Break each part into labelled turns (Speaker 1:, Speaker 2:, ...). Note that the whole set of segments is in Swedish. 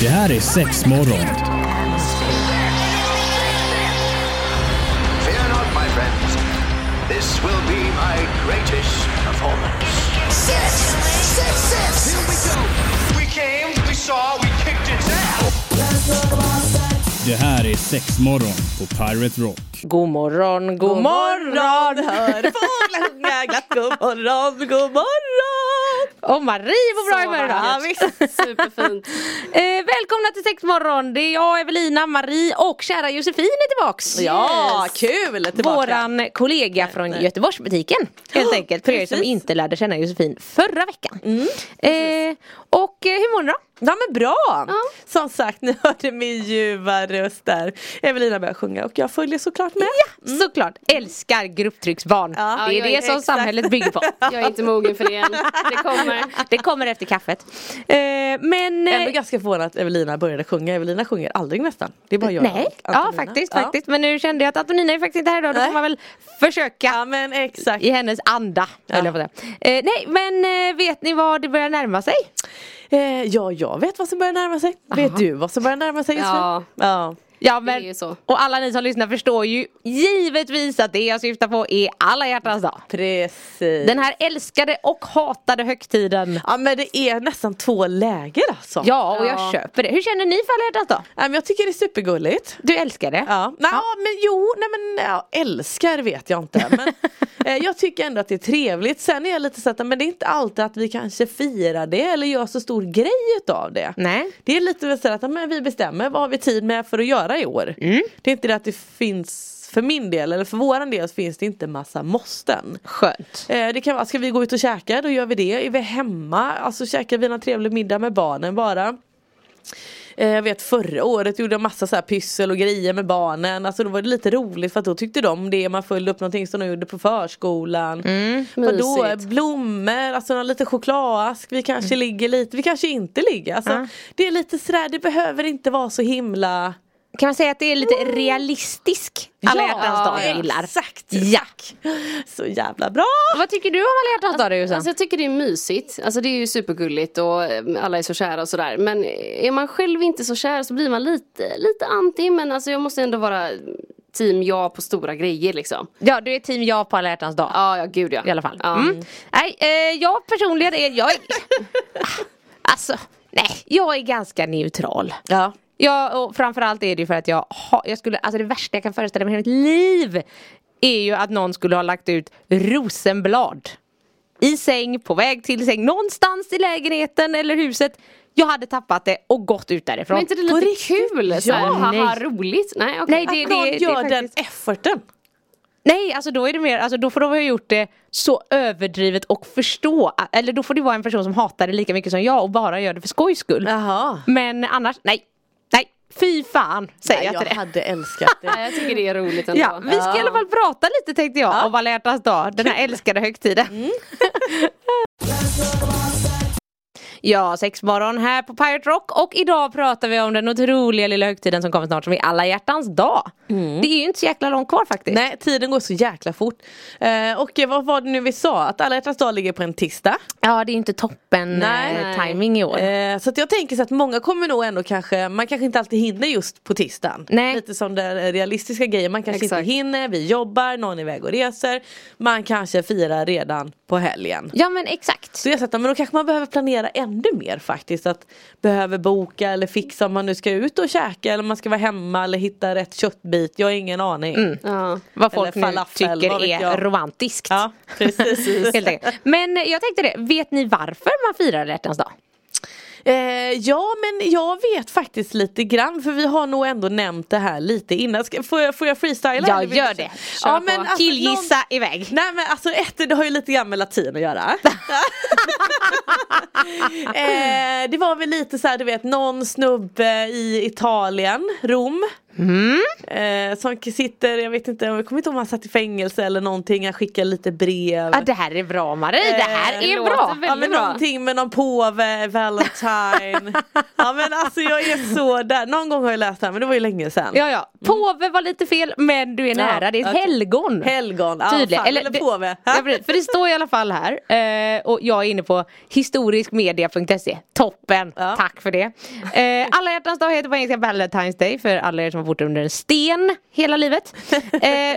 Speaker 1: Det här är sex morgon.
Speaker 2: Fear not, my friends. This will be my greatest performance.
Speaker 3: Six, six, six. Here we go.
Speaker 2: We came, we saw, we kicked its ass.
Speaker 1: Det här är sex morgon på Pirate Rock.
Speaker 4: God morgon, god,
Speaker 5: God
Speaker 4: morgon,
Speaker 5: morgon.
Speaker 4: hör fåglar sjunga glatt god morgon, god morgon. Och Marie var bra
Speaker 5: Så
Speaker 4: humör idag. Ja,
Speaker 5: vackert.
Speaker 4: visst.
Speaker 5: Superfint.
Speaker 4: eh, välkomna till sex morgon, det är jag Evelina, Marie och kära Josefin är tillbaks.
Speaker 5: Ja, kul! Tillbaka.
Speaker 4: Våran kollega från Göteborgsbutiken helt enkelt. För er som
Speaker 5: Precis. Mm,
Speaker 4: inte lärde känna Josefin förra veckan. eh, och eh, hur mår ni då?
Speaker 5: Ja men bra! Som sagt, ni hörde min ljuva röst där. Evelina börjar sjunga och jag följer såklart med.
Speaker 4: Ja, såklart. Älskar grupptrycksbarn.
Speaker 5: Mm. Ja,
Speaker 4: det är
Speaker 5: jag
Speaker 4: det
Speaker 5: är-
Speaker 4: som
Speaker 5: exakt.
Speaker 4: samhället bygger på.
Speaker 6: Jag är inte mogen för det än. Det kommer.
Speaker 4: Det kommer efter kaffet. Eh, men... eh,
Speaker 5: Ändå ganska förvånad att Evelina började sjunga. Evelina sjunger aldrig nästan. Det är bara jag
Speaker 4: Nej,
Speaker 5: och
Speaker 4: ja
Speaker 5: Antonina.
Speaker 4: faktiskt, faktiskt. Men nu kände jag att Antonina är faktiskt inte här idag. Då
Speaker 5: Nej.
Speaker 4: får man väl försöka
Speaker 5: Ja men exakt.
Speaker 4: i hennes anda.
Speaker 5: Ja.
Speaker 4: höll jag på att säga. Eh, nej, men eh, vet ni vad det börjar närma sig?
Speaker 5: Eh, ja, jag vet vad som börjar närma sig. Vet du vad som börjar närma sig just
Speaker 6: Ja.
Speaker 5: nu? Ja.
Speaker 4: Ja,
Speaker 6: Det är
Speaker 4: men,
Speaker 6: ju så.
Speaker 4: och alla ni som lyssnar förstår ju givetvis att det jag syftar på är alla hjärtans dag.
Speaker 5: Precis.
Speaker 4: Den här älskade och hatade högtiden.
Speaker 5: Ja men det är nästan två läger alltså.
Speaker 4: Ja, och
Speaker 6: Ja.
Speaker 4: jag köper det. Hur känner ni för alla hjärtans dag?
Speaker 5: Nej, men jag tycker det är supergulligt.
Speaker 4: Du älskar det?
Speaker 5: Ja, nej, ja. men jo, nej men ja, älskar vet jag inte. Men eh, jag tycker ändå att det är trevligt. Sen är jag lite så att men det är inte alltid att vi kanske firar det eller gör så stor grej utav det.
Speaker 4: Nej.
Speaker 5: Det är lite väl så att ja, men vi bestämmer vad har vi tid med för att göra i år. Det är inte det att det finns för min del eller för våran del så finns det inte massa måsten.
Speaker 4: Skönt.
Speaker 5: Eh, Det kan vara, ska vi gå ut och käka, då gör vi det. Är vi hemma, alltså käkar vi någon trevlig middag med barnen bara. Eh, Jag vet förra året gjorde jag massa så här pyssel och grejer med barnen. Alltså då var det lite roligt för att då tyckte de det. Man följde upp någonting som de gjorde på förskolan. Mm, då
Speaker 6: mysigt.
Speaker 5: blommor, alltså någon liten chokladask. Vi kanske ligger lite, vi kanske inte ligger. Alltså,
Speaker 4: Mm. Ja.
Speaker 5: Det är lite sådär, det behöver inte vara så himla
Speaker 4: Kan man säga att det är lite realistisk alla
Speaker 5: Mm. Ja,
Speaker 4: hjärtans dag jag gillar?
Speaker 5: Exakt!
Speaker 4: Ja.
Speaker 5: Så jävla bra!
Speaker 4: Vad tycker du om alla hjärtans dag då Jossan?
Speaker 6: Alltså jag tycker det är mysigt. Alltså det är ju supergulligt och eh, alla är så kära och sådär. Men eh, är man själv inte så kär så blir man lite, lite anti. Men alltså jag måste ändå vara team ja på stora grejer liksom.
Speaker 4: Ja, du är team ja på alla hjärtans dag.
Speaker 6: Ja, ja gud ja.
Speaker 4: I alla fall.
Speaker 6: Ja.
Speaker 4: Mm. Nej, eh, jag personligen är... Jag är alltså, nej, jag är ganska neutral.
Speaker 5: Ja.
Speaker 4: Jag, och framförallt är det ju för att jag, ha, jag skulle, alltså det värsta jag kan föreställa mig i hela mitt liv är ju att någon skulle ha lagt ut rosenblad i säng, på väg till säng, någonstans i lägenheten eller huset. Jag hade tappat det och gått ut därifrån.
Speaker 6: Men är inte det lite kul? Så här,
Speaker 4: Ja,
Speaker 6: haha,
Speaker 4: nej.
Speaker 6: roligt. Nej,
Speaker 4: Nej,
Speaker 6: okej.
Speaker 4: det, det,
Speaker 5: Någon
Speaker 4: det,
Speaker 5: gör
Speaker 4: är
Speaker 5: den
Speaker 4: faktiskt...
Speaker 5: efforten!
Speaker 4: Nej, alltså då är det mer, alltså då får de ha gjort det så överdrivet och förstå, eller då får det vara en person som hatar det lika mycket som jag och bara gör det för skojs skull.
Speaker 5: Jaha.
Speaker 4: Men annars, nej, nej, fy fan säger
Speaker 5: Nej,
Speaker 4: jag
Speaker 5: jag
Speaker 4: till det.
Speaker 5: hade älskat
Speaker 6: Ja,
Speaker 5: det.
Speaker 6: jag tycker det är roligt ändå.
Speaker 4: Ja, vi ska i alla fall prata lite tänkte jag om alla hjärtans dag, den här älskade högtiden.
Speaker 5: Mm.
Speaker 4: Ja, sexmorgon här på Pirate Rock och idag pratar vi om den otroliga lilla högtiden som kommer snart som är alla hjärtans dag. Det är ju inte så jäkla långt kvar faktiskt.
Speaker 5: Mm. Nej, tiden går så jäkla fort. Eh, och eh, vad var det nu vi sa? Att alla hjärtans dag ligger på en tisdag.
Speaker 4: Ja, det är inte toppen
Speaker 5: Nej.
Speaker 4: eh, timing i år.
Speaker 5: Eh, så att jag tänker så att många kommer nog ändå kanske, man kanske inte alltid hinner just på tisdagen.
Speaker 4: Nej.
Speaker 5: Lite som den realistiska grejen, man kanske
Speaker 6: Exakt.
Speaker 5: inte hinner, vi jobbar, någon är iväg och reser. Man kanske firar redan på helgen.
Speaker 4: Ja men exakt.
Speaker 5: Så jag sa att ja, men då kanske man behöver planera ännu mer faktiskt. Att behöver boka eller fixa om man nu ska ut och käka eller om man ska vara hemma eller hitta rätt köttbit. Jag har ingen aning.
Speaker 6: Ja.
Speaker 4: Vad folk
Speaker 5: Eller
Speaker 4: nu
Speaker 5: falafel, vad
Speaker 4: tycker är
Speaker 5: vet jag.
Speaker 4: romantiskt.
Speaker 5: Ja, precis.
Speaker 4: Helt enkelt. Men eh, jag tänkte det, vet ni varför man firar alla hjärtans dag?
Speaker 5: eh, ja, men jag vet faktiskt lite grann för vi har nog ändå nämnt det här lite innan. Ska, får, jag, får jag freestyla?
Speaker 4: Jag
Speaker 5: eller vill
Speaker 4: gör
Speaker 5: du-
Speaker 4: det.
Speaker 5: Ja,
Speaker 6: Kör
Speaker 5: men
Speaker 6: på.
Speaker 5: alltså,
Speaker 4: Killgissa
Speaker 5: någon-
Speaker 4: iväg.
Speaker 5: Nej men alltså ett, det har ju lite grann med latin att göra. eh, det var väl lite så här, du vet någon snubbe i Italien, Rom.
Speaker 4: Mm.
Speaker 5: Eh, som sitter, jag vet inte, jag kommer inte ihåg om han satt i fängelse eller någonting, han skickar lite brev.
Speaker 4: Ja, det här är bra Marie, det här
Speaker 6: Eh,
Speaker 4: är
Speaker 6: låter
Speaker 4: bra!
Speaker 6: väldigt
Speaker 5: Ja men
Speaker 6: bra.
Speaker 5: någonting med någon påve, Valentine. ja men alltså jag är så där. Någon gång har jag läst det här men det var ju länge sedan.
Speaker 4: Ja, ja. Påve var lite fel men du är
Speaker 5: Ja,
Speaker 4: nära, det är ett
Speaker 5: okej.
Speaker 4: helgon.
Speaker 5: Helgon, ja,
Speaker 4: Tydligen.
Speaker 5: fan, eller, påve.
Speaker 4: Ja, precis. för det står i alla fall här eh, och jag är inne på historiskmedia.se. Toppen,
Speaker 5: Ja.
Speaker 4: tack för det. Eh, alla hjärtans dag heter på engelska Valentine's Day för alla er som har bott under en sten hela livet. Eh, eh,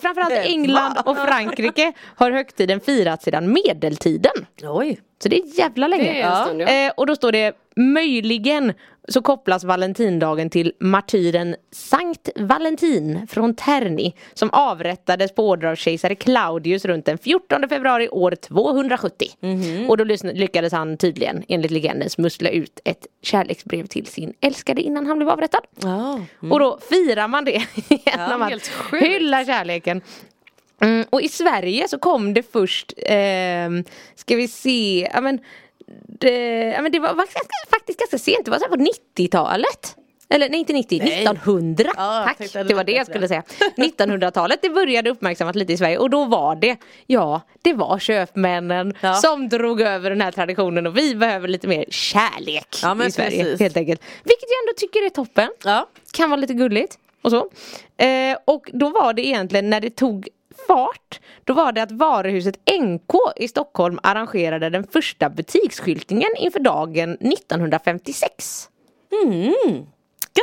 Speaker 4: framförallt i
Speaker 5: Nej,
Speaker 4: England och Frankrike har högtiden firats sedan medeltiden.
Speaker 5: Oj.
Speaker 4: Så det är jävla länge.
Speaker 6: Det är en stund, ja.
Speaker 4: Eh, och då står det möjligen så kopplas valentindagen till martyren Sankt Valentin från Terni som avrättades på order av kejsare Claudius runt den 14 februari år 270.
Speaker 6: Mhm.
Speaker 4: Och då lys- lyckades han tydligen enligt legenden smussla ut ett kärleksbrev till sin älskade innan han blev avrättad.
Speaker 5: Ja.
Speaker 4: Och då firar man det genom
Speaker 6: helt
Speaker 4: att
Speaker 6: sjukt.
Speaker 4: hylla kärleken. Mm, och i Sverige så kom det först, ehm, ska vi se, ja men det, ja, men det var faktiskt ganska- faktiskt ganska sent, det var så här på 90-talet. Eller nej inte 90, 1900!
Speaker 5: Ja, jag
Speaker 4: Tack!
Speaker 5: tänkte
Speaker 4: Det var det jag
Speaker 5: lite
Speaker 4: skulle säga. 1900-talet, det började uppmärksammas lite i Sverige och då var det, ja, det var köpmännen
Speaker 5: Ja.
Speaker 4: som drog över den här traditionen och vi behöver lite mer kärlek
Speaker 5: Ja, men
Speaker 4: i Sverige
Speaker 5: precis.
Speaker 4: helt enkelt. Vilket jag ändå tycker är toppen
Speaker 5: Ja.
Speaker 4: kan vara lite gulligt och så. Eh, och då var det egentligen när det tog fart då var det att varuhuset NK i Stockholm arrangerade den första butiksskyltningen inför dagen 1956.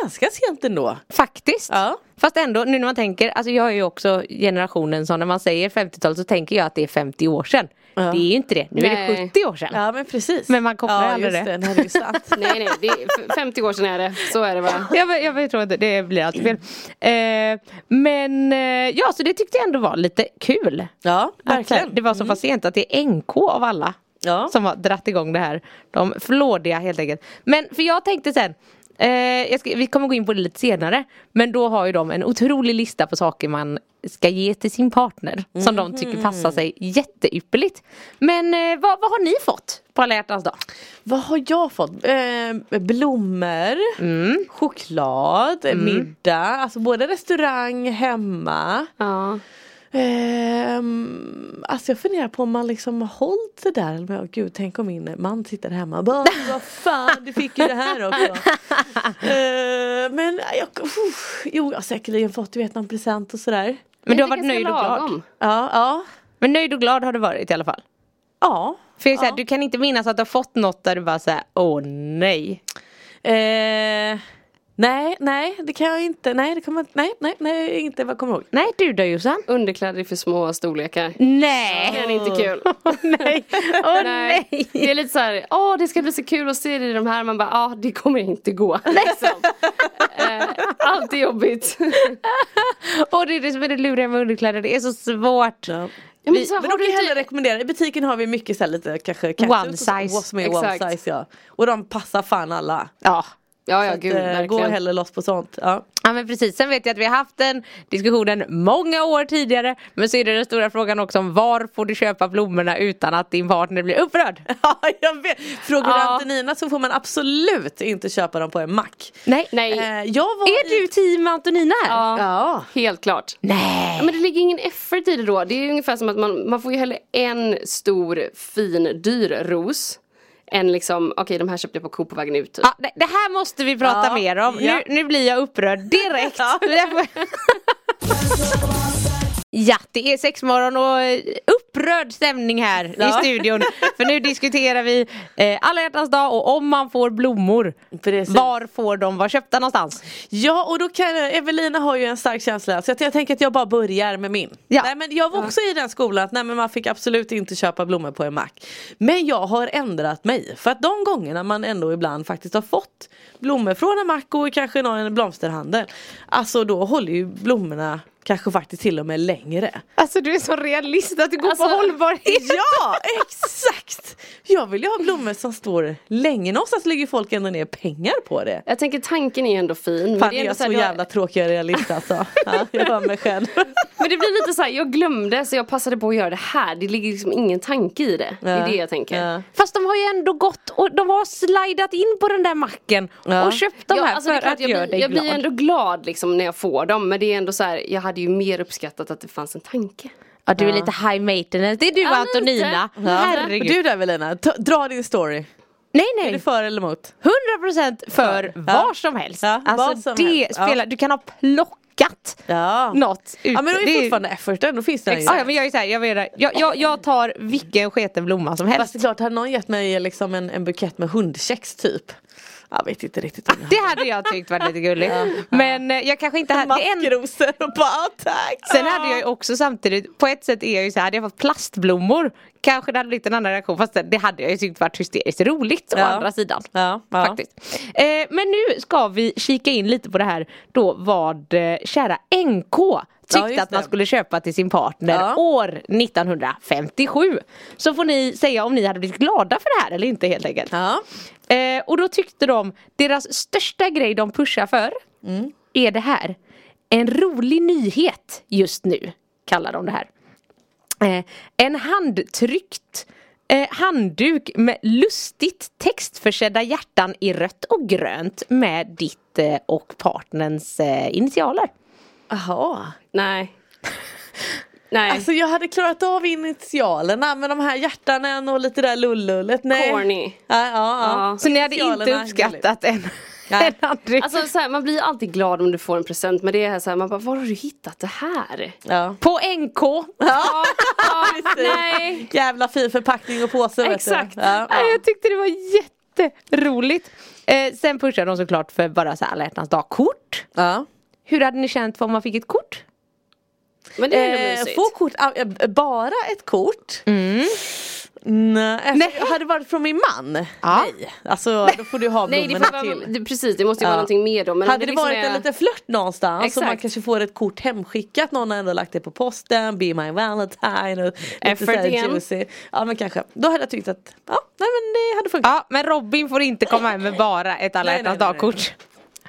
Speaker 5: Ganska sent ändå.
Speaker 4: Faktiskt.
Speaker 5: Ja.
Speaker 4: Fast ändå, nu när man tänker, alltså jag är ju också generationen som när man säger 50-tal så tänker jag att det är 50 år sedan. Det är ju inte det, nu är det
Speaker 6: Nej.
Speaker 4: 70 år sedan.
Speaker 5: Ja men precis.
Speaker 4: Men man kopplar
Speaker 5: ja,
Speaker 4: aldrig
Speaker 5: just
Speaker 4: det.
Speaker 5: det. Nej, det är sant.
Speaker 6: Nej nej, det är f- 50 år sedan är det. Så är det va?
Speaker 4: jag, vet- jag vet- tror inte, det blir alltid fel. Eh, men eh, ja, så det tyckte jag ändå var lite kul.
Speaker 5: Ja
Speaker 4: Att så här,
Speaker 5: verkligen.
Speaker 4: det var så pass sent att det är NK av alla
Speaker 5: Ja.
Speaker 4: som har dratt igång det här. De flådiga helt enkelt. Men för jag tänkte sen, eh, jag ska, vi kommer gå in på det lite senare, men då har ju de en otrolig lista på saker man ska ge till sin partner som de tycker passar sig jätteypperligt. Men eh, vad, vad har ni fått på alla hjärtans dag?
Speaker 5: Vad har jag fått? Eh, blommor, Mm. choklad, middag, alltså både restaurang, hemma.
Speaker 6: Ja.
Speaker 5: Ehm, alltså jag funderar på om man liksom har hållit det där. Eller, men, gud, tänk om min man sitter hemma och bara vad fan du fick ju det här också. Ehm, men jag, uff, jo, jag har säkerligen fått du vet, någon present och sådär.
Speaker 4: Men du har
Speaker 6: Jag
Speaker 4: varit
Speaker 6: tycker
Speaker 4: nöjd
Speaker 6: ganska
Speaker 4: och glad.
Speaker 6: lagom.
Speaker 5: Ja, ja,
Speaker 4: Men nöjd och glad har du varit i alla fall.
Speaker 5: ja.
Speaker 4: För jag är så här, du kan inte minnas att du har fått något där du bara säger åh nej.
Speaker 5: Ehm, nej, nej, det kan jag inte. Nej, det kommer jag inte. Nej, nej, nej, inte vad jag kommer ihåg.
Speaker 4: Nej du då Jossan?
Speaker 6: Underkläder i för små storlekar.
Speaker 4: Nej!
Speaker 6: Det är inte kul.
Speaker 4: Åh nej! Åh nej!
Speaker 6: Nej. Det är lite så här, åh det ska bli så kul att se dig i de här. Man bara, ja det kommer inte gå. Liksom. Eh, Allt är jobbigt.
Speaker 4: Och det är det som är det luriga med underkläder, det är så svårt!
Speaker 5: Ja.
Speaker 6: Ja, men så
Speaker 5: men
Speaker 6: har
Speaker 5: då
Speaker 6: du typ-
Speaker 5: kan jag
Speaker 6: inte-
Speaker 5: hellre rekommendera, i butiken har vi mycket så här lite kanske catsuits
Speaker 4: One
Speaker 5: och så-
Speaker 4: size.
Speaker 5: Som är one
Speaker 6: Exakt.
Speaker 5: size ja. Och de passar fan alla.
Speaker 4: Ja.
Speaker 6: Ja
Speaker 5: Så
Speaker 6: ja
Speaker 5: att,
Speaker 6: gud
Speaker 5: eh, gå
Speaker 6: verkligen.
Speaker 5: hellre loss på sånt. Ja.
Speaker 4: ja men precis, sen vet jag att vi har haft den diskussionen många år tidigare Men så är det den stora frågan också om var får du köpa blommorna utan att din partner blir upprörd?
Speaker 5: Ja, jag vet. Frågar du
Speaker 4: Ja.
Speaker 5: Antonina så får man absolut inte köpa dem på en mack.
Speaker 4: Nej!
Speaker 6: Nej.
Speaker 5: Eh, jag var
Speaker 4: Är du
Speaker 5: I...
Speaker 4: team Antonina här?
Speaker 6: Ja,
Speaker 5: Ja.
Speaker 6: helt klart.
Speaker 4: Nej!
Speaker 6: Ja, Men det ligger ingen effort i det då. Det är ju ungefär som att man, man får ju hellre en stor fin dyr ros. Än liksom, okej de här köpte jag på Coop på vägen ut. Typ.
Speaker 5: Ah.
Speaker 4: Ja, det- det här måste vi prata
Speaker 5: Ja,
Speaker 4: mer om.
Speaker 5: ja.
Speaker 4: Nu, nu blir jag upprörd direkt.
Speaker 5: Ja.
Speaker 4: Ja, det är sexmorgon och eh, upprörd stämning här
Speaker 5: Ja.
Speaker 4: i studion. För nu diskuterar vi eh, alla hjärtans dag och om man får blommor.
Speaker 5: Precis.
Speaker 4: Var får de vara köpta någonstans?
Speaker 5: Ja och då kan jag, Evelina har ju en stark känsla så jag, jag tänker att jag bara börjar med min.
Speaker 4: Ja.
Speaker 5: Nej, men jag var också i den skolan att nej, men man fick absolut inte köpa blommor på en mack. Men jag har ändrat mig för att de gångerna man ändå ibland faktiskt har fått blommor från en mack och kanske någon en blomsterhandel. Alltså då håller ju blommorna Kanske faktiskt till och med längre.
Speaker 4: Alltså du är så realist att du går
Speaker 6: Alltså,
Speaker 4: på hållbarhet.
Speaker 5: Ja, exakt! Jag vill ju ha blommor som står länge. Någonstans lägger folk ändå ner pengar på det.
Speaker 6: Jag tänker tanken är ändå fin. men
Speaker 5: Fan
Speaker 6: det
Speaker 5: är
Speaker 6: ändå
Speaker 5: jag
Speaker 6: så här,
Speaker 5: så
Speaker 6: du har-
Speaker 5: jävla tråkig och realist alltså. Ja, jag var mig själv.
Speaker 6: Men det blir lite så här, jag glömde så jag passade på att göra det här. Det ligger liksom ingen tanke i det. Det är det jag tänker.
Speaker 5: Ja.
Speaker 4: Fast de har ju ändå gått och de har slidat in på den där macken
Speaker 5: Ja.
Speaker 4: och köpt de
Speaker 6: Ja,
Speaker 4: här
Speaker 6: alltså det
Speaker 4: för
Speaker 6: är klart,
Speaker 4: att
Speaker 6: jag
Speaker 4: göra
Speaker 6: blir-
Speaker 4: dig
Speaker 6: Jag
Speaker 4: glad.
Speaker 6: blir ändå glad liksom när jag får dem. Men det är ändå så här, jag hade ju mer uppskattat att det fanns en tanke.
Speaker 4: Ja, du är lite high maintenance, det är du
Speaker 6: Ja,
Speaker 4: Antonina.
Speaker 6: lite. Ja.
Speaker 5: Och
Speaker 4: Herregud.
Speaker 5: Du där Velina, ta, dra din story.
Speaker 4: nej
Speaker 5: Är du
Speaker 4: nej,
Speaker 5: för eller emot?
Speaker 4: 100% för var som helst.
Speaker 5: Ja,
Speaker 4: alltså
Speaker 5: vad som
Speaker 4: det
Speaker 5: helst. Ja.
Speaker 4: spelar, du kan ha plockat
Speaker 5: Ja.
Speaker 4: något ut.
Speaker 5: Ja men då
Speaker 4: Det
Speaker 5: är det
Speaker 4: är-
Speaker 5: fortfarande efforten, då finns den ju.
Speaker 4: Ja, ja, men jag är så här, jag, menar, jag, jag, jag tar vilken sketen blomma som
Speaker 5: Fast
Speaker 4: helst.
Speaker 5: det är klart, hade någon gett mig liksom en, en bukett med hundkex typ. Jag vet inte riktigt om
Speaker 4: Det hade jag tyckt var lite gulligt. Men eh, jag kanske inte
Speaker 5: jag
Speaker 4: hade... det en-
Speaker 5: Maskrosor och bara "Ah, tack!
Speaker 4: Sen hade jag ju också samtidigt, på ett sätt är jag ju så här, hade jag fått plastblommor kanske det hade blivit en annan reaktion fast det hade jag ju tyckt varit hysteriskt roligt å
Speaker 5: Ja.
Speaker 4: andra sidan.
Speaker 5: Ja, ja.
Speaker 4: Faktiskt. Eh, men nu ska vi kika in lite på det här då vad eh, kära NK
Speaker 5: Ja,
Speaker 4: tyckte
Speaker 5: just
Speaker 4: att man
Speaker 5: det.
Speaker 4: skulle köpa till sin partner
Speaker 5: Ja.
Speaker 4: år 1957. Så får ni säga om ni hade blivit glada för det här eller inte helt enkelt.
Speaker 5: Ja.
Speaker 4: Eh, och då tyckte de, deras största grej de pushar för
Speaker 5: Mm.
Speaker 4: är det här. En rolig nyhet just nu, kallar de det här. Eh, en handtryckt eh, handduk med lustigt textförsedda hjärtan i rött och grönt med ditt eh, och partnerns eh, initialer.
Speaker 5: Jaha.
Speaker 6: Nej. Nej.
Speaker 5: Alltså jag hade klarat av initialerna med de här hjärtanen och lite där lullullet. Nej.
Speaker 6: Corny.
Speaker 5: Ja, ja, ja.
Speaker 4: Så ni hade inte
Speaker 5: Initialerna,
Speaker 4: uppskattat en,
Speaker 5: Nej.
Speaker 4: en handduk?
Speaker 6: Alltså så här, man blir alltid glad om du får en present men det är så här, man bara var har du hittat det här?
Speaker 5: Ja.
Speaker 4: på NK!
Speaker 6: Ja, ja, nej.
Speaker 5: Jävla fin förpackning och påse
Speaker 6: Exakt.
Speaker 5: vet du. Ja.
Speaker 4: Nej, jag tyckte det var jätteroligt. Eh, sen pushade de såklart för bara så här alla hjärtans dag kort.
Speaker 5: Ja.
Speaker 4: Hur hade ni känt om man fick ett kort?
Speaker 6: Men det är ändå
Speaker 5: Eh,
Speaker 6: mysigt.
Speaker 5: få kort, ah, eh, bara ett kort? Nej, alltså,
Speaker 4: Nej.
Speaker 5: Hade det varit från min man?
Speaker 4: Ja.
Speaker 5: Nej, alltså då får du ha
Speaker 6: Nej det
Speaker 5: blommorna
Speaker 6: får vara,
Speaker 5: till.
Speaker 6: det, precis det måste ju
Speaker 5: Ja.
Speaker 6: vara någonting med dem. Men om
Speaker 5: hade det,
Speaker 6: liksom
Speaker 5: varit
Speaker 6: är-
Speaker 5: en liten flört någonstans så man
Speaker 6: Exakt.
Speaker 5: kanske får ett kort hemskickat, någon har ändå lagt det på posten, be my valentine och lite
Speaker 6: Effort
Speaker 5: så här
Speaker 6: igen.
Speaker 5: juicy. Ja men kanske, då hade jag tyckt att ja, nej men det hade funkat.
Speaker 4: Ja, men Robin får inte komma hem med bara ett alla
Speaker 5: Nej,
Speaker 4: hjärtans
Speaker 5: nej, nej,
Speaker 4: dag-kort.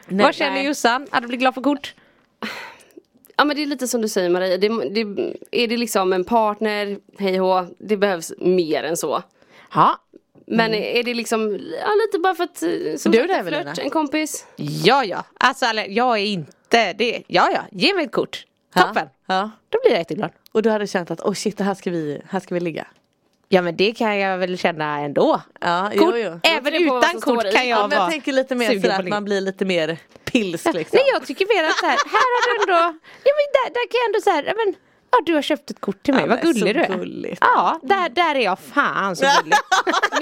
Speaker 5: Nej.
Speaker 4: Vad känner
Speaker 6: Nej.
Speaker 4: Jossan? Hade du blivit glad för kort?
Speaker 6: Ja men det är lite som du säger Maria, det, det, är det liksom en partner, hej hå, det behövs mer än så.
Speaker 4: Ja.
Speaker 6: Men är det liksom, ja, lite bara för att, eh, som
Speaker 5: Mm. Du
Speaker 6: sagt,
Speaker 5: då,
Speaker 6: en
Speaker 5: Evelina?
Speaker 6: flört, en kompis.
Speaker 4: Ja, ja. Alltså, alla, jag är inte det. Ja, ja. Ge mig ett kort. Toppen.
Speaker 5: Ja.
Speaker 4: Då blir jag jätteglad.
Speaker 5: Och du hade känt att oh shit, det här ska vi, här ska vi ligga.
Speaker 4: Ja, men det kan jag väl känna ändå.
Speaker 5: Ja,
Speaker 4: Kort,
Speaker 5: jo, jo.
Speaker 4: Även
Speaker 6: Det beror på vad
Speaker 4: utan
Speaker 6: som
Speaker 4: kort
Speaker 6: står i.
Speaker 4: kan jag
Speaker 5: Ja, men
Speaker 4: vara
Speaker 5: jag tänker lite mer
Speaker 4: sugen på
Speaker 5: sådär
Speaker 4: att
Speaker 5: att
Speaker 4: ligga.
Speaker 5: man blir lite mer pils liksom.
Speaker 4: Nej jag tycker mer att så här, här har du ändå, ja men där, där kan jag ändå så här, ja, men ja, du har köpt ett kort till mig,
Speaker 5: Ja,
Speaker 4: vad
Speaker 5: men så
Speaker 4: gullig du är.
Speaker 5: gulligt.
Speaker 4: Ja, där, där är jag fan så gullig.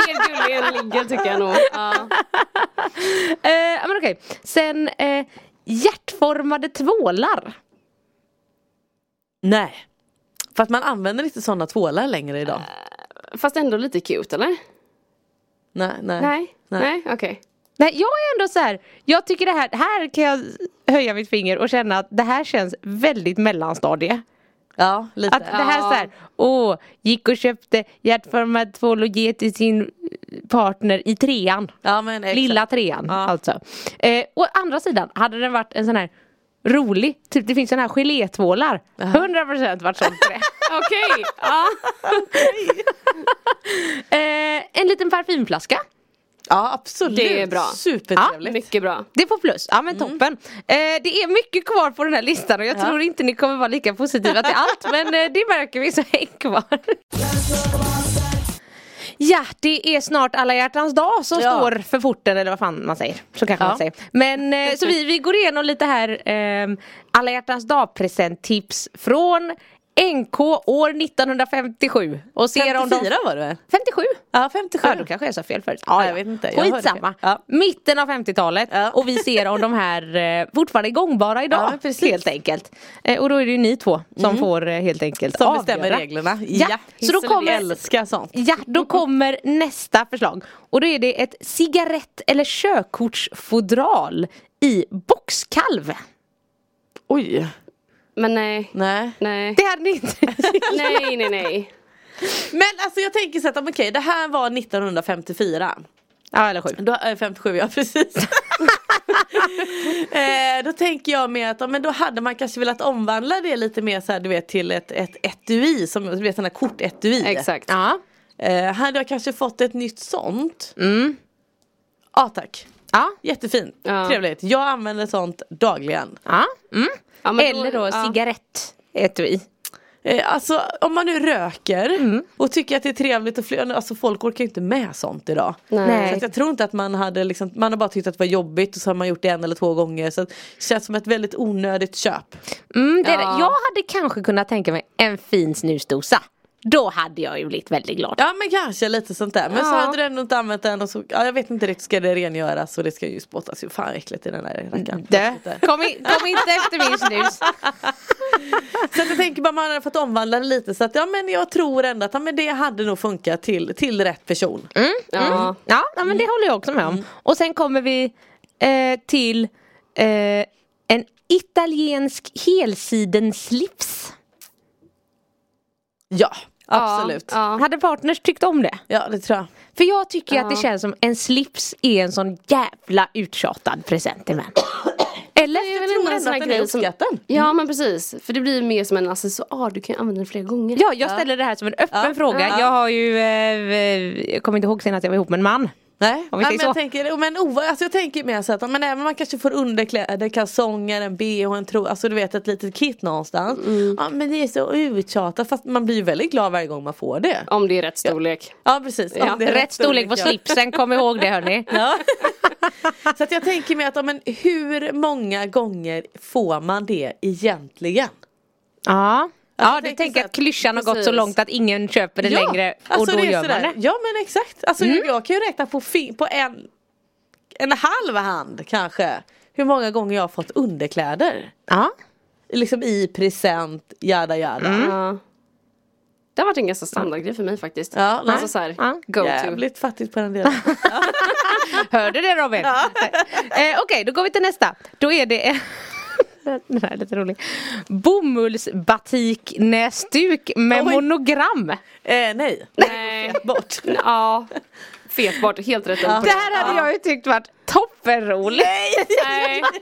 Speaker 6: Mer gullig än ligga tycker jag nog. Ja.
Speaker 4: Eh, ja, men okej, sen eh, hjärtformade tvålar.
Speaker 5: Nej. För att man använder inte sådana tvålar längre idag.
Speaker 6: Fast ändå lite cute eller?
Speaker 5: Nej, nej.
Speaker 6: Nej,
Speaker 5: Nej.
Speaker 6: nej okej.
Speaker 4: Nej jag är ändå så här, jag tycker det här, här kan jag höja mitt finger och känna att det här känns väldigt mellanstadie.
Speaker 5: Ja, lite.
Speaker 4: Att det här är så här, åh, gick och köpte hjärtformad tvål och ge till sin partner i trean.
Speaker 5: ja, men exakt.
Speaker 4: Lilla trean
Speaker 5: Ja.
Speaker 4: alltså. Eh, å andra sidan, hade den varit en sån här rolig, typ det finns såna här gelétvålar. 100% vart sånt för det.
Speaker 6: Okej, ja.
Speaker 4: eh, En liten parfymflaska.
Speaker 5: Ja, absolut.
Speaker 6: Det är bra.
Speaker 5: Supertrevligt.
Speaker 6: mycket bra.
Speaker 4: Det får plus, ja
Speaker 5: Mm.
Speaker 4: men toppen. Eh, det är mycket kvar på den här listan och jag tror inte ni kommer vara lika positiva till allt men eh, det märker vi, så häng kvar. Ja, det är snart alla hjärtans dag som
Speaker 5: Ja.
Speaker 4: står för porten eller vad fan man säger. Så kanske
Speaker 5: Ja.
Speaker 4: man säger. Men eh, så vi, vi går igenom lite här ehm, alla hjärtans dag presenttips från NK år 1957 och ser om de...
Speaker 5: 54 var det väl?
Speaker 4: 57?
Speaker 5: Ja, 57.
Speaker 4: Ja, då kanske jag sa fel förut.
Speaker 5: Ja, jag vet inte. Jag hörde
Speaker 4: Skitsamma.
Speaker 5: fel. Ja.
Speaker 4: Mitten av 50-talet
Speaker 5: Ja.
Speaker 4: och vi ser om de här eh, fortfarande är gångbara idag.
Speaker 5: Ja, men precis.
Speaker 4: Helt enkelt. Eh, och då är det ju ni två som får eh, helt enkelt
Speaker 5: Som
Speaker 4: avgöra.
Speaker 5: bestämmer reglerna.
Speaker 4: Ja, så då
Speaker 5: Jag
Speaker 4: kommer...
Speaker 5: älskar sånt.
Speaker 4: Ja, då kommer nästa förslag. Och då är det ett cigarett eller körkortsfodral i boxkalv.
Speaker 5: Oj.
Speaker 6: Men nej.
Speaker 5: Nej.
Speaker 6: Nej.
Speaker 4: Det hade ni inte.
Speaker 6: Nej, nej, nej.
Speaker 5: Men alltså jag tänker så att okej det här var 1954.
Speaker 4: ja, eller sju.
Speaker 5: Då, eh, 57 ja precis. eh, då tänker jag med att ja, men då hade man kanske velat omvandla det lite mer så här, du vet till ett, ett etui som du vet sådana kortetui.
Speaker 6: Exakt.
Speaker 4: Ja.
Speaker 5: Eh, hade jag kanske fått ett nytt sånt. Mm. Ja tack.
Speaker 4: Ja.
Speaker 5: Jättefint.
Speaker 6: Ja.
Speaker 5: Trevligt. Jag använder sånt dagligen.
Speaker 4: ja. Mm.
Speaker 6: Ja, men
Speaker 4: eller då
Speaker 6: ja.
Speaker 4: cigarett. Etui.
Speaker 5: Eh, alltså om man nu röker och tycker att det är trevligt att flyga. Alltså folk orkar ju inte med sånt idag.
Speaker 6: Nej.
Speaker 5: Så att jag tror inte att man hade liksom, man har bara tyckt att det var jobbigt och så har man gjort det en eller två gånger. Så att det känns som ett väldigt onödigt köp.
Speaker 4: Mm, det är det.
Speaker 6: Ja.
Speaker 4: Jag hade kanske kunnat tänka mig en fin snusdosa. Då hade jag ju blivit väldigt glad.
Speaker 5: Ja men kanske lite sånt där. Men så
Speaker 6: Ja.
Speaker 5: hade du ändå inte använt den och så, ja, jag vet inte riktigt, ska det rengöras och det ska ju spottas. Hur fan vad äckligt i den där rackaren.
Speaker 4: Dö. Kom, in, kom inte efter min snus.
Speaker 5: Så att jag tänker bara man hade fått omvandla det lite så att ja men jag tror ändå att ja, men det hade nog funkat till, till rätt person. Mm,
Speaker 6: Ja.
Speaker 4: Ja, ja men det håller jag också med om. Och sen kommer vi eh, till eh, en italiensk helsidenslips.
Speaker 5: Ja absolut. Ja,
Speaker 6: Ja.
Speaker 4: Hade partners tyckt om det?
Speaker 5: det tror jag.
Speaker 4: För jag tycker ju att det känns som en slips är en sån jävla uttjatad present till män. Eller?
Speaker 6: Det är
Speaker 5: Jag
Speaker 6: väl
Speaker 5: tror
Speaker 6: ändå en
Speaker 5: ändå
Speaker 6: sån här
Speaker 5: att den är
Speaker 6: grej som...
Speaker 5: uppskattad. Mm.
Speaker 6: Ja men precis, för det blir mer som en accessoar, du kan ju använda den flera gånger.
Speaker 4: Ja, jag ställer det här som en öppen
Speaker 5: Ja.
Speaker 4: fråga.
Speaker 5: Ja.
Speaker 4: Jag har ju, eh, jag kommer inte ihåg senast jag var ihop med en man.
Speaker 5: Nej,
Speaker 4: Om vi
Speaker 5: ja,
Speaker 4: säger
Speaker 5: men
Speaker 4: så.
Speaker 5: jag tänker, men, ova, alltså jag tänker mer så att ja, men även om man kanske får underkläder, kalsonger, en bh, en tro, alltså du vet ett litet kit någonstans.
Speaker 4: Mm.
Speaker 5: Ja, men det är så uttjatat fast man blir ju väldigt glad varje gång man får det.
Speaker 6: Om det är rätt storlek.
Speaker 5: Ja precis. Om
Speaker 6: Ja,
Speaker 5: det är
Speaker 4: Rätt storlek på
Speaker 5: ja.
Speaker 4: slipsen, kom ihåg det hörni.
Speaker 5: Ja. så att jag tänker mig att ja, men hur många gånger får man det egentligen?
Speaker 4: Ja, ja du
Speaker 5: tänker
Speaker 4: tänker
Speaker 5: så
Speaker 4: att
Speaker 5: att-
Speaker 4: klyschan har gått så
Speaker 6: precis.
Speaker 4: långt att ingen köper det längre och
Speaker 5: alltså
Speaker 4: då
Speaker 5: det är
Speaker 4: gör
Speaker 5: sådär.
Speaker 4: man det. Mm.
Speaker 5: Ja men exakt. Alltså jag, jag kan ju räkna på, fi- på en, en halv hand kanske. Hur många gånger jag har fått underkläder.
Speaker 4: Ja.
Speaker 5: liksom i present, jada jada.
Speaker 4: Mm.
Speaker 6: Ja. Det har varit en ganska standardgrej för mig faktiskt.
Speaker 5: Ja,
Speaker 6: alltså
Speaker 5: nej.
Speaker 6: såhär,
Speaker 4: Ja.
Speaker 6: go to.
Speaker 5: Jävligt fattigt på den delen.
Speaker 4: Hörde du det Robin? eh, Okej, då går vi till nästa. Då är det Den här är lite rolig. Bomullsbatiknäsduk med
Speaker 5: Oj.
Speaker 4: monogram.
Speaker 5: eh, nej,
Speaker 6: Nej.
Speaker 5: bort.
Speaker 6: Ja, fet bort, helt rätt ord på
Speaker 4: Det här hade jag ju tyckt varit toppenroligt.
Speaker 6: Nej.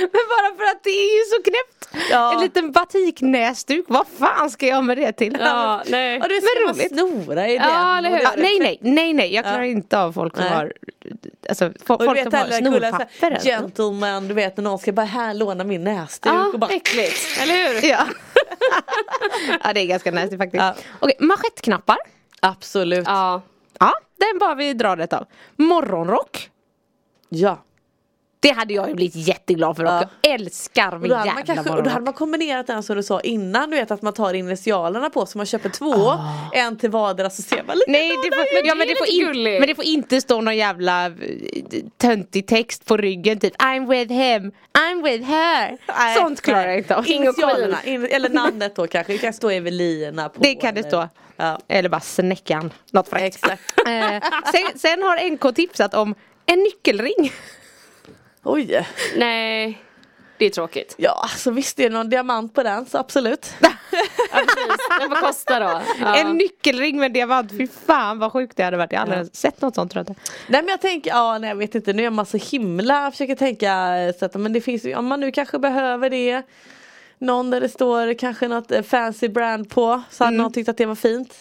Speaker 4: Men bara för att det är ju så knäppt.
Speaker 5: Ja.
Speaker 4: En liten batiknäsduk, vad fan ska jag med det till?
Speaker 6: Ja, nej.
Speaker 5: Ja, du
Speaker 4: Men
Speaker 5: ska man
Speaker 4: roligt.
Speaker 5: snora i den.
Speaker 6: Ja, eller hur?
Speaker 5: Och
Speaker 4: Ja,
Speaker 5: det-
Speaker 4: nej, nej, nej, nej, jag klarar
Speaker 5: Ja.
Speaker 4: inte av folk som
Speaker 5: Nej.
Speaker 4: har alltså, fo-
Speaker 5: Och
Speaker 4: folk
Speaker 5: du
Speaker 4: som
Speaker 5: vet
Speaker 4: har
Speaker 5: alla coola så
Speaker 4: snorpapper.
Speaker 5: här, gentleman, du vet när någon ska bara här låna min näsduk
Speaker 6: Ja,
Speaker 5: och bara
Speaker 6: äckligt, eller hur?
Speaker 4: Ja. ja, det är ganska nasty faktiskt.
Speaker 5: Ja.
Speaker 4: Okej, manschettknappar.
Speaker 5: absolut. Ja.
Speaker 6: Ja,
Speaker 4: Ja, den bara vi drar rätt av. Morgonrock. Det hade jag ju blivit jätteglad för också. Älskar
Speaker 5: Och
Speaker 4: min
Speaker 5: då, hade
Speaker 4: jävla
Speaker 5: man kanske, och då hade
Speaker 4: morgonrock.
Speaker 5: man kombinerat den som du sa innan, du vet att man tar initialerna på så man köper två, en till vardera så ser man lite
Speaker 4: Ah. Nej, det får, men, ja,
Speaker 6: det
Speaker 4: men,
Speaker 6: är
Speaker 4: det får
Speaker 6: lite
Speaker 4: in,
Speaker 6: gulligt.
Speaker 4: men det får inte stå någon jävla eh, töntig text på ryggen typ I'm with him, I'm with her.
Speaker 5: Nej,
Speaker 4: Sånt klarar jag
Speaker 5: nej.
Speaker 4: inte av.
Speaker 5: Initialerna, in, eller namnet då kanske, det kan stå Evelina på
Speaker 4: Det kan det
Speaker 5: eller-
Speaker 4: stå.
Speaker 5: Ja.
Speaker 4: Eller bara snäckan. Något fräckt.
Speaker 5: Exakt.
Speaker 4: Eh, sen, sen har NK tipsat om en nyckelring.
Speaker 5: Oj!
Speaker 6: nej. Det är tråkigt.
Speaker 5: Ja alltså visst det är någon diamant på den så absolut.
Speaker 6: Ja, precis. Den får kosta då. Ja.
Speaker 4: En nyckelring med diamant. Fy fan vad sjukt det hade varit. Jag har aldrig sett något sånt tror jag inte.
Speaker 5: Nej men jag tänker, ja nej jag vet inte nu är man så himla, jag försöker tänka eh, så att men det finns ju, om man nu kanske behöver det. Någon där det står kanske något eh, fancy brand på så
Speaker 4: Mm.
Speaker 5: hade någon tyckt att det var fint.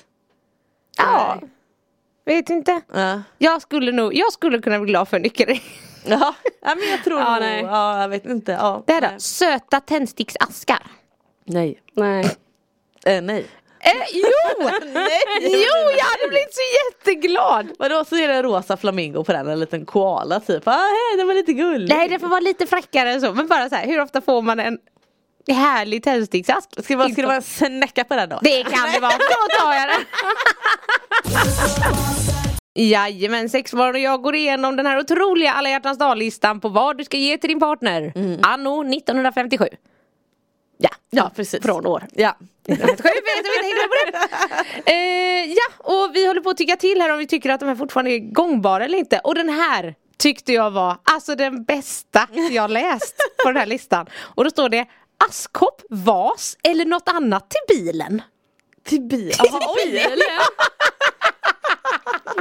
Speaker 4: Ja. Vet inte.
Speaker 5: Ja.
Speaker 4: Jag skulle nog, jag skulle kunna bli glad för en nyckelring.
Speaker 5: Ja, ja men jag tror
Speaker 6: Ja,
Speaker 5: nog,
Speaker 6: nej.
Speaker 5: ja jag vet inte. Ja,
Speaker 4: Det här då,
Speaker 5: nej.
Speaker 4: söta tändsticksaskar.
Speaker 5: Nej.
Speaker 6: Nej.
Speaker 5: Eh, nej.
Speaker 4: Eh, jo! jo, jag hade blivit så jätteglad!
Speaker 5: Vadå så är det en rosa flamingo på den, en liten koala typ. Ah, hej den var lite gullig.
Speaker 4: Nej, det får vara lite fräckare än så. Men bara så här, hur ofta får man en härlig tändsticksask?
Speaker 5: Ska det vara, ska det vara en snäcka på den då?
Speaker 4: Det kan det vara, då tar jag den! Jajamän, sexvaror och jag går igenom den här otroliga alla hjärtans dag-listan på vad du ska ge till din partner anno 1957. Ja,
Speaker 5: Ja precis.
Speaker 4: från år.
Speaker 5: Ja.
Speaker 4: Eh, ja, och vi håller på att tycka till här om vi tycker att de här fortfarande är gångbara eller inte. Och den här tyckte jag var alltså den bästa jag läst på den här listan. Och då står det askkopp, vas eller något annat till bilen.
Speaker 5: Till bil.
Speaker 6: Jaha, oj, eller?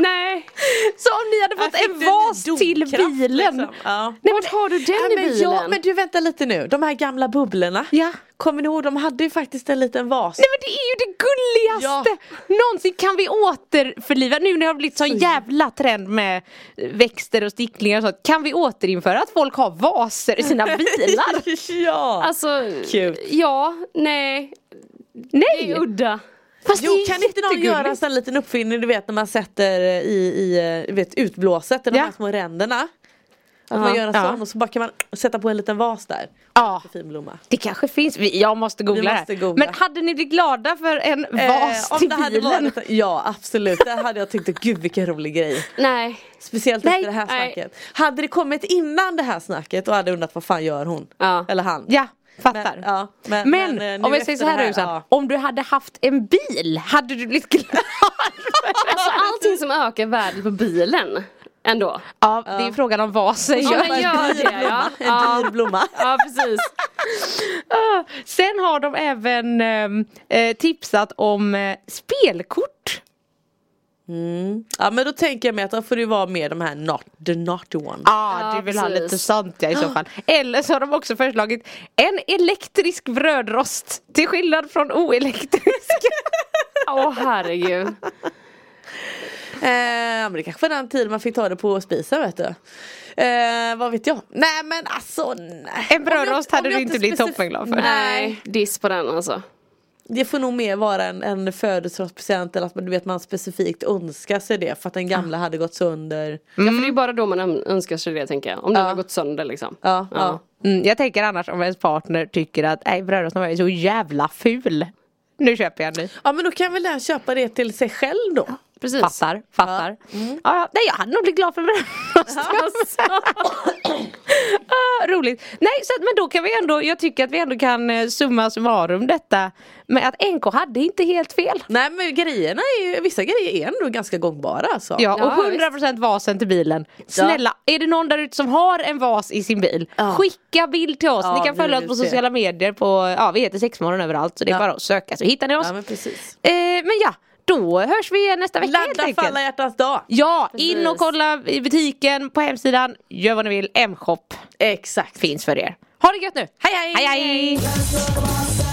Speaker 6: Nej,
Speaker 4: Så om ni hade
Speaker 5: Jag
Speaker 4: fått
Speaker 5: fick
Speaker 4: en
Speaker 5: lite
Speaker 4: vas till
Speaker 5: domkraft,
Speaker 4: bilen.
Speaker 5: liksom. Ja.
Speaker 4: Nej,
Speaker 6: vart har du den
Speaker 5: Ja,
Speaker 6: i
Speaker 5: men,
Speaker 6: bilen?
Speaker 5: ja, men du vänta lite nu, de här gamla bubblorna.
Speaker 4: Ja.
Speaker 5: Kommer ni ihåg, de hade ju faktiskt en liten vas.
Speaker 4: Nej men det är ju det gulligaste! Någonsin kan vi återförliva, nu när det har blivit sån jävla trend med växter och sticklingar och sånt, kan vi återinföra att folk har vaser i sina bilar?
Speaker 5: ja!
Speaker 6: Alltså,
Speaker 5: Cute.
Speaker 6: ja, nej, det
Speaker 4: Nej!
Speaker 6: är udda.
Speaker 4: Fast
Speaker 5: Jo
Speaker 4: det är
Speaker 5: kan inte någon göra en
Speaker 4: jättegulligt.
Speaker 5: sån liten uppfinning du vet när man sätter eh, i, i eh, du vet, utblåset, i de
Speaker 4: Ja.
Speaker 5: här små ränderna. Att
Speaker 4: Ja,
Speaker 5: man gör en
Speaker 4: ja.
Speaker 5: sån och så bara kan man sätta på en liten vas där.
Speaker 4: Ja,
Speaker 5: Fin blomma.
Speaker 4: det kanske finns, Vi- jag måste googla, det
Speaker 5: måste
Speaker 4: här.
Speaker 5: googla.
Speaker 4: Men hade ni blivit glada för en vas
Speaker 5: Eh, om
Speaker 4: till
Speaker 5: det hade
Speaker 4: bilen?
Speaker 5: varit, ja absolut, det hade jag tyckt gud vilken rolig grej.
Speaker 6: Nej,
Speaker 5: Speciellt
Speaker 4: Nej,
Speaker 5: efter det här
Speaker 6: nej.
Speaker 5: snacket. Hade det kommit innan det här snacket och hade undrat vad fan gör hon?
Speaker 6: Ja.
Speaker 5: Eller han.
Speaker 4: Ja, fattar.
Speaker 5: Men, ja, men-
Speaker 4: men
Speaker 5: men, eh,
Speaker 4: om
Speaker 5: nu
Speaker 4: jag säger
Speaker 5: efter
Speaker 4: så här,
Speaker 5: det här,
Speaker 4: Rosan,
Speaker 5: ja.
Speaker 4: om du hade haft en bil, hade du blivit glad?
Speaker 6: alltså allting som ökar värdet på bilen ändå.
Speaker 4: ja, det är frågan om vasen
Speaker 6: Ja,
Speaker 4: gör.
Speaker 6: men gör det, ja.
Speaker 5: En
Speaker 6: Ja.
Speaker 5: dyr blomma.
Speaker 6: Ja, precis.
Speaker 4: Ah, Sen har de även ehm, eh, tipsat om eh, spelkort.
Speaker 5: Mm. Ja men då tänker jag mig att då får det ju vara med de här not, the naughty one.
Speaker 4: Ah,
Speaker 6: Ja,
Speaker 4: ja, du vill ha
Speaker 6: precis.
Speaker 4: lite sånt ja, i
Speaker 5: Ah.
Speaker 4: så fall. Eller så har de också föreslagit en elektrisk brödrost till skillnad från oelektrisk.
Speaker 6: Åh herregud.
Speaker 5: Eh, men det kanske var den tiden man fick ta det på spisen vet du. Eh, vad vet jag? Nej men alltså nej.
Speaker 4: En brödrost
Speaker 5: Om jag-
Speaker 4: hade
Speaker 5: om
Speaker 4: du
Speaker 5: jag
Speaker 4: inte blivit
Speaker 5: specif-
Speaker 4: toppenglad för.
Speaker 6: Nej, diss på den alltså.
Speaker 5: Det får nog mer vara en, en födelsedagspresent eller att man, du vet, man specifikt önskar sig det för att den gamla hade gått sönder.
Speaker 6: Ja, för det är ju bara då man ö- önskar sig det tänker jag. Om den har gått sönder liksom.
Speaker 5: Ja, ja.
Speaker 4: Mm, jag tänker annars om ens partner tycker att nej brödrosten var ju så jävla ful. Nu köper jag en ny.
Speaker 5: Ja men då kan väl den köpa det till sig själv då.
Speaker 6: Precis.
Speaker 4: Fattar, fattar. Ja. ja, nej, jag hade nog blivit glad för brödrost. ah, roligt. Nej, så att, men då kan vi ändå, jag tycker att vi ändå kan eh, summa summarum detta med att NK hade inte helt fel.
Speaker 5: Nej men grejerna är ju, vissa grejer är ändå ganska gångbara alltså.
Speaker 4: Ja, och
Speaker 6: Ja,
Speaker 4: 100% vasen till bilen. Snälla, är det någon där ute som har en vas i sin bil? Skicka bild till oss.
Speaker 5: Ja,
Speaker 4: Ni kan
Speaker 5: vi
Speaker 4: följa oss
Speaker 5: vill
Speaker 4: på
Speaker 5: se.
Speaker 4: sociala medier på, ja vi heter Sexmorgon överallt så det är
Speaker 5: Ja.
Speaker 4: bara att söka så hittar ni oss.
Speaker 5: Ja, men precis.
Speaker 4: Eh, men ja, då hörs vi igen nästa vecka helt
Speaker 5: Ladda
Speaker 4: enkelt.
Speaker 5: för alla hjärtans dag.
Speaker 4: Ja,
Speaker 6: Precis.
Speaker 4: in och kolla i butiken, på hemsidan, gör vad ni vill, M-shop
Speaker 5: Exakt.
Speaker 4: finns för er. Ha det gött nu!
Speaker 5: Hej hej!
Speaker 4: hej! hej.
Speaker 3: Dance floor, bossa,